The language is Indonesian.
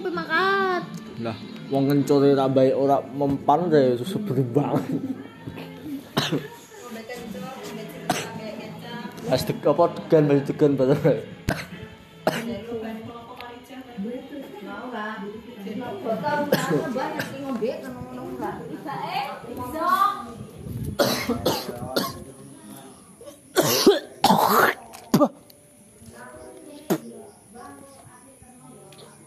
pemakat. Lah, wong ngencore tak baik ora mempan ya susah banget. As deg apa degan baju degan padahal. Mau enggak? Botol banyak sih ngombe ngono enggak.